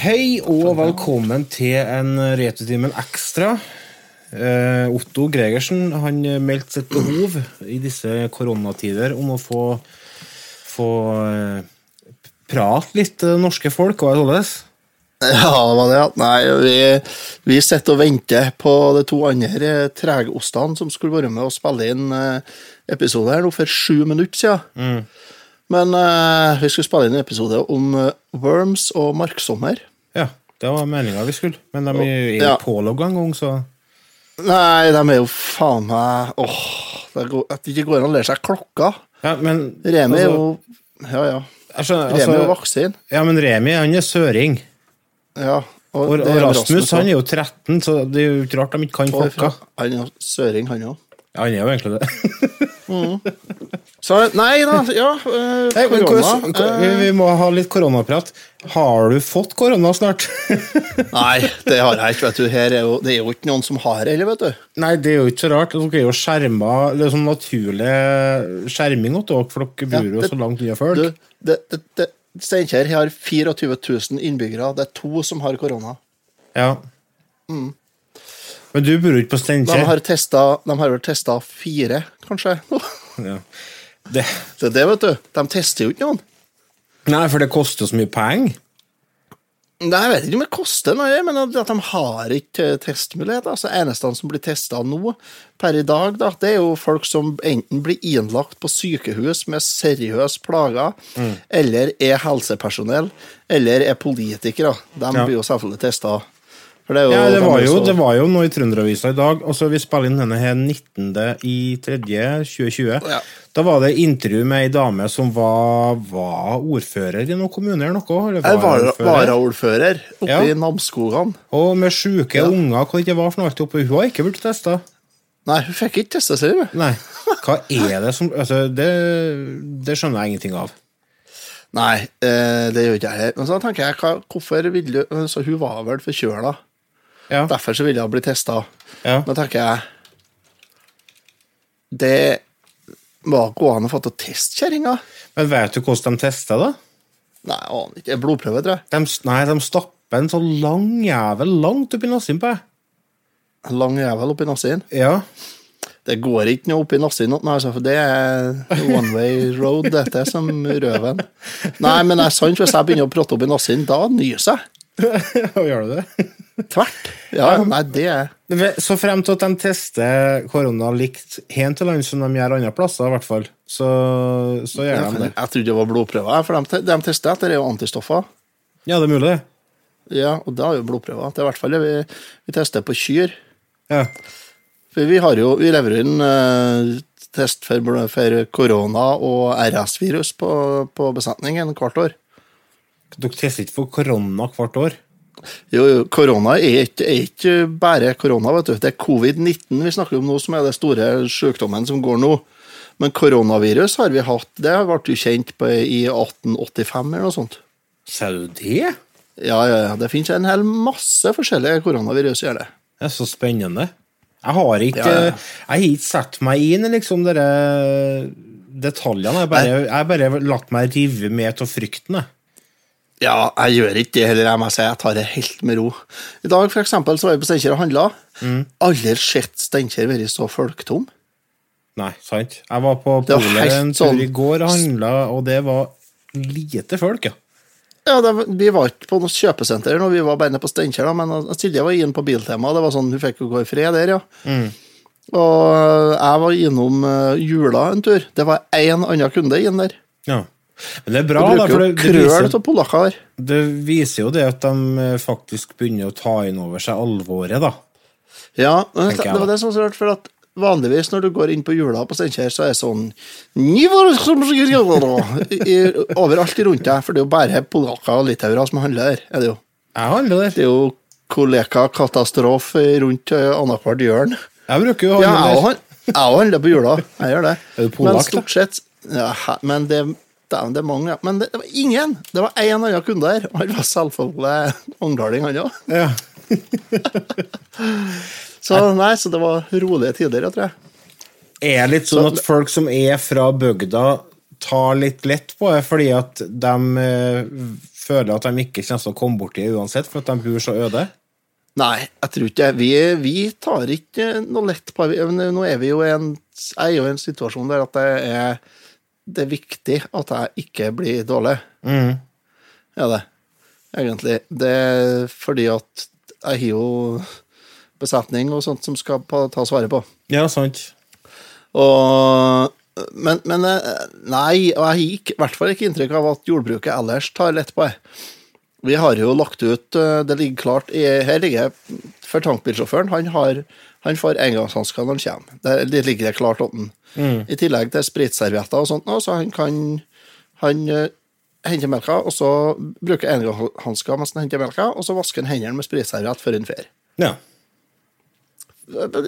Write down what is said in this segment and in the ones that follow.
Hei og velkommen til en Retustimen ekstra. Eh, Otto Gregersen han meldte sitt behov i disse koronatider om å få, få eh, prate litt til det norske folk og alt sånt. Ja, men ja. Nei, vi, vi sitter og venter på de to andre eh, tregostene som skulle være med og spille inn eh, episode her nå for sju minutter siden. Mm. Men eh, vi skulle spille inn en episode om eh, worms og marksommer. Ja, det var meninga vi skulle, men de er jo Ja. ja. pålogga en gang, så Nei, de er jo faen meg Åh, det går, at det ikke går an å lære seg klokka. ja, men, Remi er altså, jo Ja, ja. jeg skjønner, Remi er jo altså, vaksin. ja, men Remi han er søring. Ja. Og, og det er Rasmus han også. er jo 13, så det er jo ikke rart de ikke kan Og klokka. fra- Han er jo søring, han òg. Ja, han er jo egentlig det. Så nei da, ja. eh, Nei, men korona, hvordan- ko- eh, vi- vi må ha litt koronaprat. Har du fått korona snart? Nei, det har jeg ikke, vet du. Her er jo, det er jo ikke noen som har det heller, vet du. Nei, det er jo ikke så rart. Dere er jo skjerma Det er sånn naturlig skjerming åt dere, for dere bor jo det- så langt unna du folk. det, det, det, Steinkjer har 24 000 innbyggere. Det er to som har korona. Ja. Mm. Men du bor jo ikke på De Steinkjer. har, testet, de har vel testa fire, kanskje. Ja. Det- Det er det, vet du. De tester jo ikke noen. Nei, for det koster så mye penger. Nei, Jeg vet ikke om det koster noe, men at de har ikke eh, testmuligheter. Altså, eneste som blir testa nå, per i dag, da, det er jo folk som enten blir innlagt på sykehus med seriøse plager, Mm. eller er helsepersonell, eller er politikere. De Ja. blir jo selvfølgelig testa. For det er jo, Ja, det de var er jo, så- det var jo noe i Trønderavisa i dag. Altså, vi spiller inn denne her 19. i 3. 2020. Ja. Da var det intervju med ei dame som var, var ordfører i noen kommune eller noe. Eller Jeg var varaordfører. varaordfører oppe Ja. i Namsskogan. Og med sjuke unger, hva det var for noe alt oppe. Hun har ikke blitt testa. Nei, hun fikk ikke testa seg, hun. Nei. Hva er det som Altså, det, det skjønner jeg ingenting av. Nei, eh, det gjør ikke jeg heller. Men så tenker jeg, hva, hvorfor ville hun Så hun var vel forkjøla. Ja. Derfor så ville hun bli testa. Ja. Da tenker jeg Det var ikke an å få til testkjerringa. Men vet du hvordan de testa, da? Nei, jeg aner ikke. Blodprøve, tror jeg. De, nei, de stapper en så lang jævel langt oppi nassen på deg. En Lang jævel oppi nassen. Ja. Det går ikke noe oppi nassen. nå, nei, altså, for Det er one way road, dette, som røven. Nei, men det er sant, hvis jeg begynner å prate oppi nassen, da nyser jeg. Og gjør du det? Tvert. Ja, nei, det er Ve- Så frem til at de tester korona likt hen til land som de gjør andre plasser, i hvert fall, så, så gjør de det. Jeg trodde det var blodprøver, for de, te- de tester etter det er jo antistoffer. Ja, det er mulig, det. Ja, og da er jo blodprøver. Det er i hvert fall det vi, vi tester på kyr. Ja. For vi har jo, vi lever inn eh, test for, for korona og RS-virus på, på besetningen hvert år. Dere tester ikke for korona hvert år. Jo, jo, korona er ikke, er ikke bare korona, vet du. Det er covid-19 vi snakker om nå, som er den store sykdommen som går nå. Men koronavirus har vi hatt, det ble jo kjent på, i 1885 eller noe sånt. Sa du det? Ja, ja, ja. Det finnes en hel masse forskjellige koronavirus, gjør det. Det er så spennende. Jeg har ikke, Ja, ja. Jeg har ikke satt meg inn i liksom dere detaljene. Jeg har bare, jeg har bare latt meg rive med av frykten. jeg. Ja, jeg gjør ikke det heller, jeg må si. Jeg tar det helt med ro. I dag for eksempel, så var jeg på Steinkjer og handla. Mm. Aldri sett Steinkjer være så folktom. Nei, sant? Jeg var på Det var polet helt en tur i sånn- går og handla, og det var lite folk, ja. Ja, det, var- Vi var ikke på noe kjøpesenter, nå, vi var bare nede på Steinkjer, da, men uh, Silje var inne på Biltema. Det var sånn, Hun fikk jo gå i fred der, ja. Mm. Og uh, jeg var innom uh, Jula en tur. Det var én annen kunde inn der. ja. Men det er Vi bra, da, bruker for det, jo det viser krøl av polakker her. Det viser jo det at de eh, faktisk begynner å ta inn over seg alvoret, da. Ja, men det, Tenker jeg, det var da. det som var så rart, for at vanligvis når du går inn på jula på Steinkjer, så er det sånn «Nivå som sikkert gjør det nå», i- Overalt rundt deg, for det er jo bare polakker og litauere som handler her. Er det, jo. Jeg handler der. det er jo kollega-katastrofe rundt eh, annethvert hjørne. Jeg bruker jo å Ja, jeg handle der. òg han- jeg òg handler på jula. Jeg gjør det. Er du polakk, Men da? stort sett ja, he- Men det, det, er, det er mange, ja. Men det, det var ingen! Det var én annen kunde der, og han var selvfølgelig ungdaling, han òg. Ja. Så nei, så det var rolige tider, jeg tror jeg. Er litt sånn at folk som er fra bygda, tar litt lett på det, fordi at de eh, føler at de ikke kommer til å komme borti det uansett, for at de bor så øde. Nei, jeg tror ikke det. Vi, vi tar ikke noe lett på men Nå er vi jo i en, jeg er jo i en situasjon der at det er, det er viktig at jeg ikke blir dårlig. Er det, egentlig. Det er fordi at jeg har jo besetning og sånt som skal pa- tas vare på. Ja, sant. Og, men, men eh, nei, og jeg har ikke- i hvert fall ikke inntrykk av at jordbruket ellers tar lett på det. Vi har jo lagt ut eh, Det ligger klart i, Her ligger for tankbilsjåføren. Han, har, han får engangshansker når han kommer. Det, det ligger det klart åtten. I tillegg til spritservietter og sånt, nå, så han kan Han eh, henter melka, og så bruker engangshansker mens han henter melka, og så vasker han hendene med spritserviett før han drar Ja.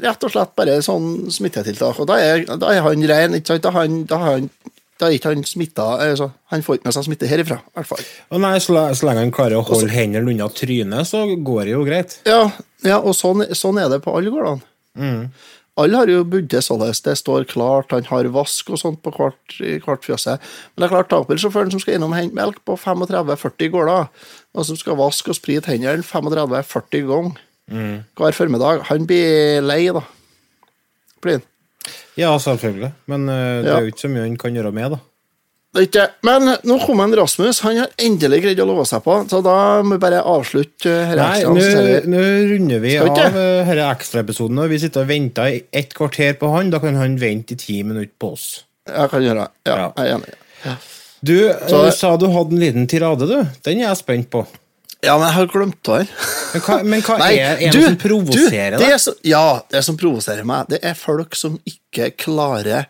rett og slett bare sånn smittetiltak. Og da er, da er han ren, ikke sant? Da, har han, da, har han, da er ikke han smitta altså, Han får ikke med seg smitte herifra, i hvert fall. Og nei, så, le- så lenge han klarer å holde hendene unna trynet, så går det jo greit. Ja, ja og sånn, sånn er det på alle gårdene. Alle har jo budde således. Det står klart, han har vask og sånt på hvert, i hvert fjøset. Men det er klart, tankbilsjåføren som skal innom og hente melk på 35-40 gårder, og som skal vaske og sprite hendene 35-40 ganger hver formiddag, han blir lei, da. Blir han. Ja, selvfølgelig. Men eh, det Ja. er jo ikke så mye han kan gjøre med, da. Det er ikke det. Men nå kom en Rasmus. Han har endelig greid å love seg på, så da må vi bare avslutte eh, her Nei, ekstraen, nå så sier vi- nå runder vi Skal av vi ikke? eh, herre ekstraepisoden. og Vi sitter og venter i ett kvarter på han. Da kan han vente i ti minutter på oss. Jeg kan gjøre det. Ja, Ja. jeg er enig. Du eh, Så- sa du hadde en liten tirade, du. Den er jeg spent på. Ja, men jeg har glemt av den. Men hva, men hva er, er det som provoserer det deg? er så, ja, det som provoserer meg, det er folk som ikke klarer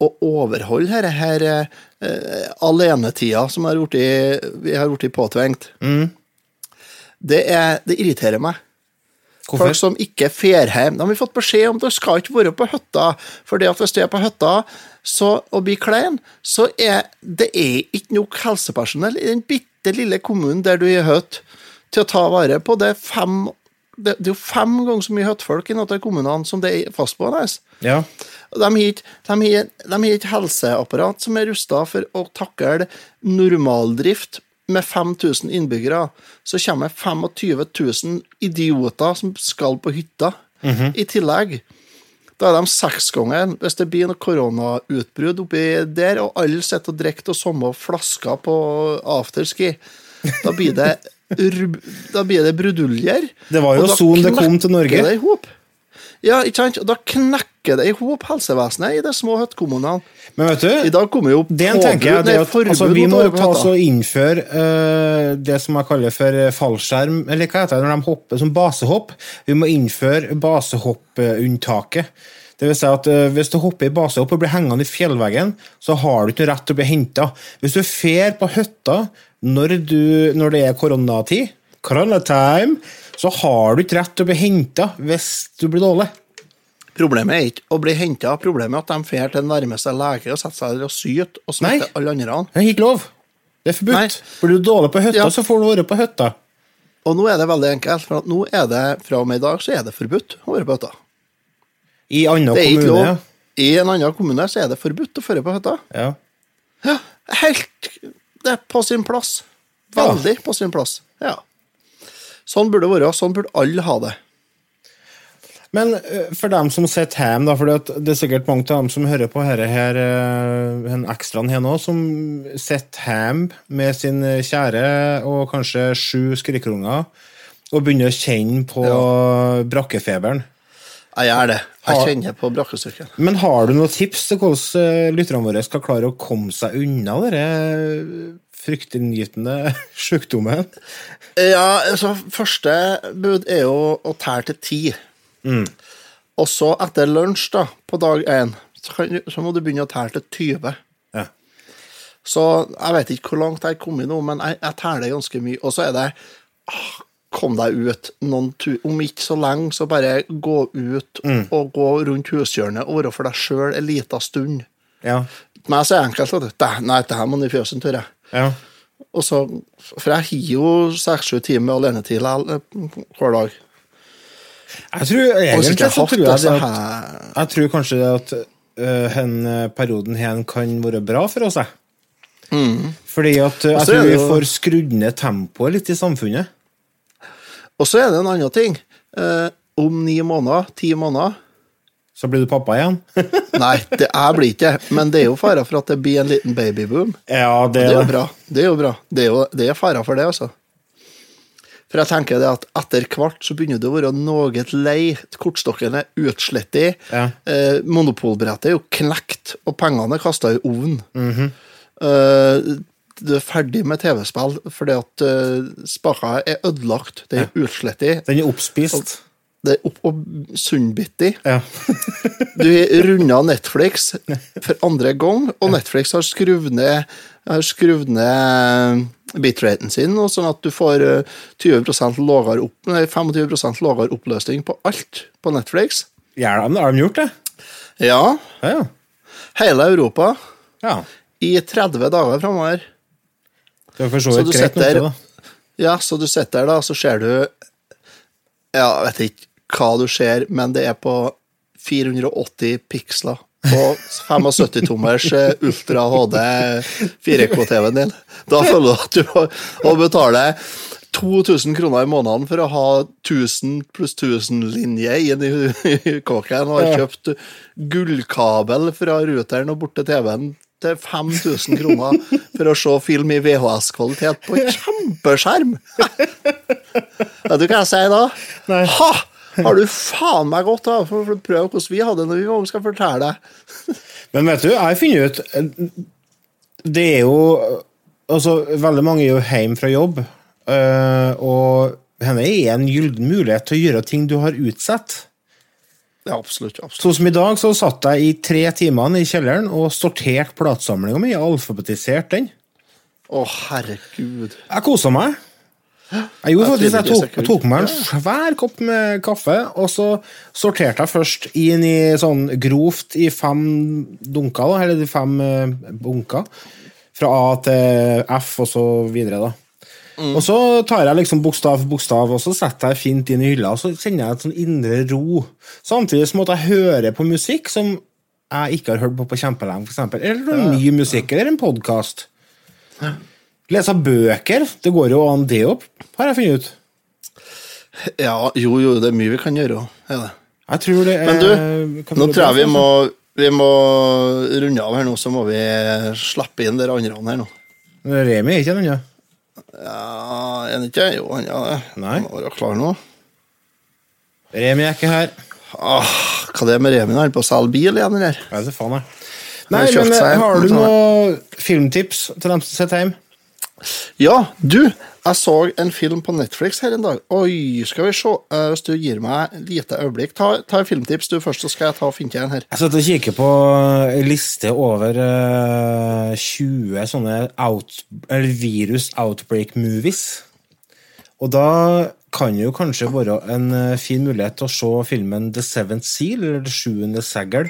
å overholde dette her eh, eh, alenetida som har gjort i, vi har blitt påtvingt. Mm. Det, er, det irriterer meg. Folk Hvorfor? som ikke fer hjem. De har fått beskjed om at de skal ikke være på hytta, fordi at hvis du er på hytta så, og blir klein, så er det er ikke nok helsepersonell i den bitte lille kommunen der du er høyt, til å ta vare på. Det er fem, det, det er jo fem ganger så mye hyttefolk i noen av kommunene som det er fastboende. Ja. Og De har ikke- de har ikke- de har ikke helseapparat som er rusta for å takle normaldrift med 5000 innbyggere. Så kommer 25 000 idioter som skal på hytta Mhm. i tillegg. Da er de seksgangeren hvis det blir noe koronautbrudd oppi der, og alle sitter og drikker av samme flasker på afterski. Da blir det, rub- da blir det bruduljer. Det var jo og da sånn det kom til Norge. knekker det i hop. Ja, ikke sant? Og da knekker det i hop helsevesenet i de små høttkommunene. Men vet du, I dag kommer jo Det en tenker jeg, det er nei, at altså, vi mot må å være på ta oss hytta. og innføre eh, det som jeg kaller for eh, fallskjerm, eller hva heter det når de hopper som basehopp? Vi må innføre basehoppunntaket. Det vil si at eh, Hvis du hopper i basehopp og blir hengende i fjellveggen, så har du ikke rett til å bli henta. Hvis du fer på hytta når, du, når det er koronatid, koronatime, så har du ikke rett til å bli henta hvis du blir dårlig. Problemet er ikke å bli henta, problemet er at de drar til nærmeste lege og setter seg der og syter og Nei. smitter alle andre. Det er ikke lov. Det er forbudt. Nei. Blir du dårlig på hytta, Ja. så får du være på hytta. Og nå er det veldig enkelt, for at nå er det fra og med i dag så er det forbudt å være på hytta. I annen Det er ikke kommune. lov. ja. I en annen kommune så er det forbudt å føre på hytta. Ja. Ja, helt Det er på sin plass. Veldig på sin plass. Ja. Sånn burde det være. Sånn burde alle ha det. Men eh, for dem som sitter hjemme, da, for det er sikkert mange av dem som hører på dette her, eh, en ekstraen her nå, som sitter hjemme med sin kjære og kanskje sju skrikerunger og begynner å kjenne på brakkefeberen. Jeg gjør det. Har- Jeg kjenner på brakkestyrken. Men har du noen tips til hvordan eh, lytterne våre skal klare å komme seg unna denne eh, fryktinngytende sykdommen? Ja, altså, første bud er jo å tære til ti. Mm. Og så etter lunsj da, på dag én, så, kan, du- så må du begynne å tære til 20. Ja. Så jeg vet ikke hvor langt jeg er kommet nå, men jeg, jeg tæler ganske mye. Og så er det ah, Kom deg ut noen tur. Om ikke så lenge, så bare gå ut og gå rundt hushjørnet og være for deg sjøl en liten stund. Ja. For meg så er det enkelt. At, det- nei, det her må ned i fjøsen, tør jeg. ja. Og så, for jeg har jo seks-sju timer alenetid likevel, eh, hver dag. Jeg tror Og hvis egentlig ikke jeg så har hatt tror jeg det, det så at har jeg Jeg tror kanskje det at eh, hen, eh, perioden her kan være bra for oss. jeg. Fordi at eh, jeg Mm. Og så er tror det vi jo- får skrudd ned tempoet litt i samfunnet. Og så er det en annen ting. Eh, om ni måneder, ti måneder Så blir du pappa igjen. Nei, det jeg blir ikke det, men det er jo fare for at det blir en liten babyboom. ja, det Det er er jo det. bra. Det er jo bra. Det er, jo, det er fare for det, altså. For jeg tenker det at etter hvert så begynner du å være noe lei. Kortstokken er utslettet. Ja. Eh, monopolbrettet er jo knekt, og pengene er kasta i ovnen. Mhm. eh, du er ferdig med TV-spill fordi at eh, spaka er ødelagt. Det er utslettet. Den er oppspist. Det er opp og sunnbittig. Ja. Du runda Netflix for andre gang, og Netflix har skrudd ned, har skrudd ned bitraten sin, og sånn at du får eh, 20 lavere opp, nei, 25 lavere oppløsning på alt på Netflix. Gjør de det? Har de gjort det? Ja, Ja, ja. hele Europa ja. i 30 dager framover. Det er for så Så vidt du greit. sitter- nok, det, da. Ja, så du sitter der, da, så ser du Ja, jeg vet ikke hva du ser, men det er på 480 piksler. På 75-tommers eh, Ultra HD 4K-TV-en din. Da føler du at du må må betale 2000 kroner i måneden for å ha 1000 pluss 1000-linje inn i i kåken, og har kjøpt gullkabel fra routeren og bort til TV-en til 5000 kroner for å se film i VHS-kvalitet på kjempeskjerm! Vet du hva jeg sier da? Ha! Har du faen meg godt av for å prøve hvordan vi hadde det når vi var unge, skal jeg fortelle deg. Men vet du, jeg finner ut eh, Det er jo Altså, veldig mange er jo hjemme fra jobb, øh, og henne er en gyllen mulighet til å gjøre ting du har utsatt. Ja, absolutt. absolutt. Sånn som i dag, så satt jeg i tre timer i kjelleren og sorterte platesamlinga mi. Alfabetiserte den. Å, herregud. Jeg kosa meg. Jeg gjorde Jeg faktisk, jeg trivdes tok, ikke. jeg tok meg en svær kopp med kaffe, og så sorterte jeg først inn i sånn grovt i fem dunker, da, eller de fem eh, bunker, fra A til F og så videre, da. Mm. Og så tar jeg liksom bokstav for bokstav, og så setter jeg fint inn i hylla, og så kjenner jeg et sånn indre ro. Samtidig som at jeg hører på musikk som jeg ikke har hørt på på kjempelenge, for eksempel. Eller noe ny musikk, eller en podkast. Lese bøker, det går jo an det opp, har jeg funnet ut. Ja, jo, jo, det er mye vi kan gjøre. Er det. Jeg tror det er Men Eh, du, kan nå det tror jeg bli- vi må, vi må runde av her nå, så må vi slappe inn dere andre her nå. Remi er ikke den, ja. Ja, er han ikke? Jo, han er det. Nei. Han må være klar nå. Remi er ikke her. Ah, hva det er med Remin? Er han på å selge bil igjen, eller? Jeg vet ikke faen, jeg. Nei, kjøpt men seg en- har du noen filmtips til dem som sitter hjemme? Ja, du! Jeg så en film på Netflix her en dag. Oi, skal vi se. Eh, Hvis du gir meg et lite øyeblikk Ta, ta en filmtips, du først, så skal jeg ta og finne til en her. Jeg satt og altså, kikker på ei liste over eh, 20 sånne out, eller virus outbreak-movies. Og da kan det jo kanskje være en eh, fin mulighet til å se filmen The Seventh Seal, eller Det sjuende segl,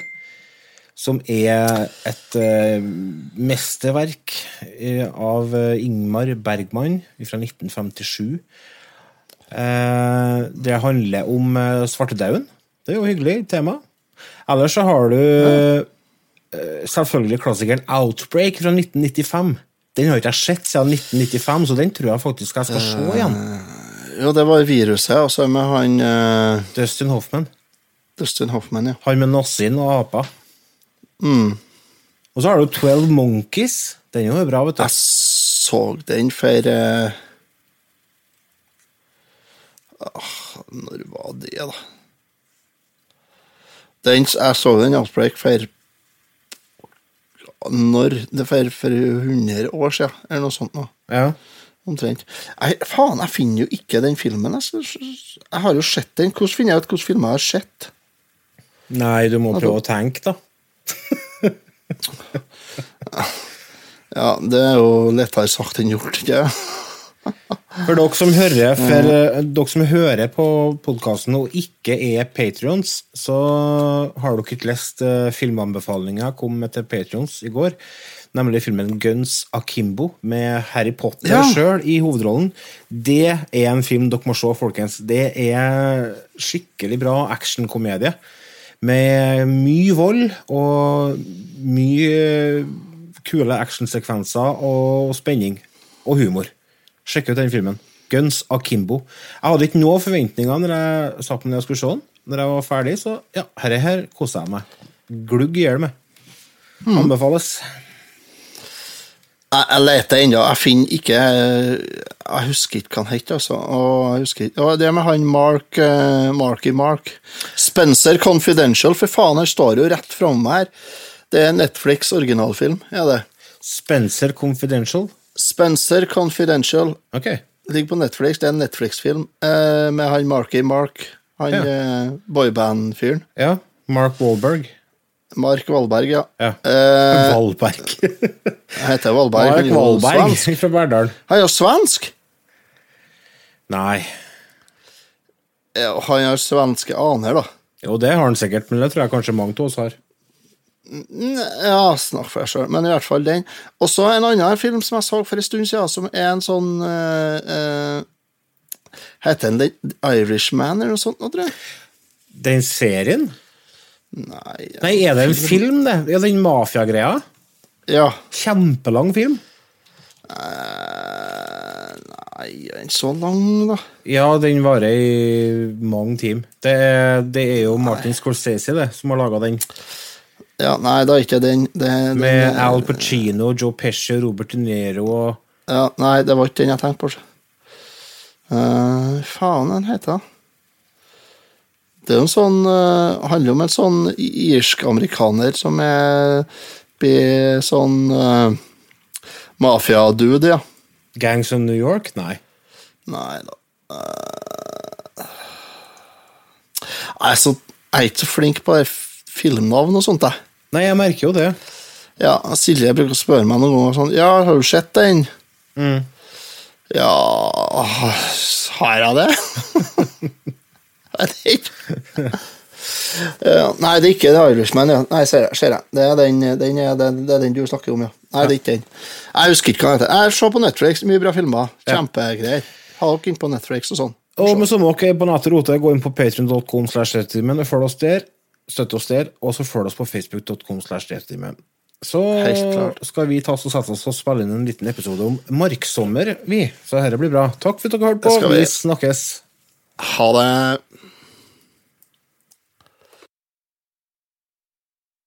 som er et eh, mesterverk eh, av eh, Ingmar Bergman fra 1957. Eh, det handler om eh, svartedauden. Det er jo hyggelig tema. Ellers så har du eh, selvfølgelig klassikeren Outbreak fra 1995. Den har ikke jeg sett siden 1995, så den tror jeg faktisk jeg skal se igjen. Jo, det var viruset, og så med han eh, Dustin Hoffman. Dustin Hoffman, ja. Han med nazien og apa. Og så har du Twelve Monkeys. Den er jo bra, vet du. Jeg så den for eh, ah, Når var det, da? Den, jeg så den i Outbreak for Når? Det for, for 100 år siden, eller noe sånt. Nå. Ja. Omtrent. Jeg, faen, jeg finner jo ikke den filmen. Jeg, synes- jeg har jo sett den. Hvordan finner jeg ut hvilke filmer jeg har sett? Nei, du må prøve å tenke, da. Ja, Det er jo lettere sagt enn gjort. ikke For dere som hører, for, eh, dere som hører på podkasten og ikke er patrions, så har dere ikke lest eh, filmanbefalinga jeg kom med til patrions i går. Nemlig filmen Guns Akimbo med Harry Potter Ja. sjøl i hovedrollen. Det er en film dere må se, folkens. Det er skikkelig bra actionkomedie. Med mye vold og mye kule actionsekvenser og spenning. Og humor. Sjekk ut den filmen. Guns Akimbo. Jeg hadde ikke noen forventninger når jeg satt meg ned og skulle se den. Når jeg var ferdig, så ja, herre her koser jeg meg. Glugg i hjel med. Anbefales. Jeg, jeg leter ennå. Jeg finner ikke eh, Jeg husker ikke hva han het, altså. Og jeg husker ikke. Og det med han Mark eh, Marky Mark. Spencer Confidential, for faen, her står jo rett framme her. Det er Netflix originalfilm, er det. Spencer Confidential. Spencer Confidential Ok. ligger på Netflix. Det er en Netflix-film eh, med han Marky Mark, han Ja. eh, boyband-fyren. Ja. Mark Wahlberg. Mark Valberg, ja. Ja. Eh, Wahlberg. jeg heter Valberg. Mark han er jo Wahlberg svensk. fra Verdal. Han er jo svensk! Nei. Ja, Han har svenske aner, da. Jo, det har han sikkert, men det tror jeg kanskje mange av oss har. Ja, snakk for deg sjøl, men i hvert fall den. Og så en annen film som jeg så for en stund siden, som er en sånn eh, eh, Heter den The Irishman eller noe sånt? nå, tror jeg? Den serien? Nei ja. Nei, er det en film, det? Ja, den mafiagreia? ja. Kjempelang film. Eh, nei, er den så lang, da? Ja, den varer i mange timer. Det, er- det er jo Martin Scorsese det, som har laga den, Ja, Nei, det er ikke den. Det, den eh, med Al Pacino, Joe Pesci, Robert De Niro og ja, Nei, det var ikke den jeg tenkte på. Uh, faen, den heter det? Det er jo en sånn, eh, handler om en sånn irsk-amerikaner som er blir sånn uh, mafia-dude, ja. Gangs of New York? Nei. Nei da Eh, Jeg er, så, jeg er ikke så flink på det f- filmnavn og sånt, jeg. Nei, jeg merker jo det. Ja, Silje bruker å spørre meg noen ganger sånn Ja, har du sett den? Mm. Ja Har jeg det? jeg vet ikke. Ja, nei, det er ikke The Irishman. Ja. Nei, ser jeg. Ser jeg. Det, er den, den er, det, det er den du snakker om, ja. Nei, det er ikke den. Jeg husker ikke hva den heter. Jeg ser på Netflix. Mye bra filmer. Kjempegreier. Ha dere inn på Netflix og sånn. Og med samme dere er på nettet roter, gå inn på patreon.com slash rettimen og følg oss der. Støtt oss der, og så følg oss på facebook.com slash rettimen. Så Helt klart. skal vi ta oss og sette oss og spille inn en liten episode om marksommer, vi. Så dette blir bra. Takk for at dere hørte på. Det skal Vi vi. snakkes. Ha det.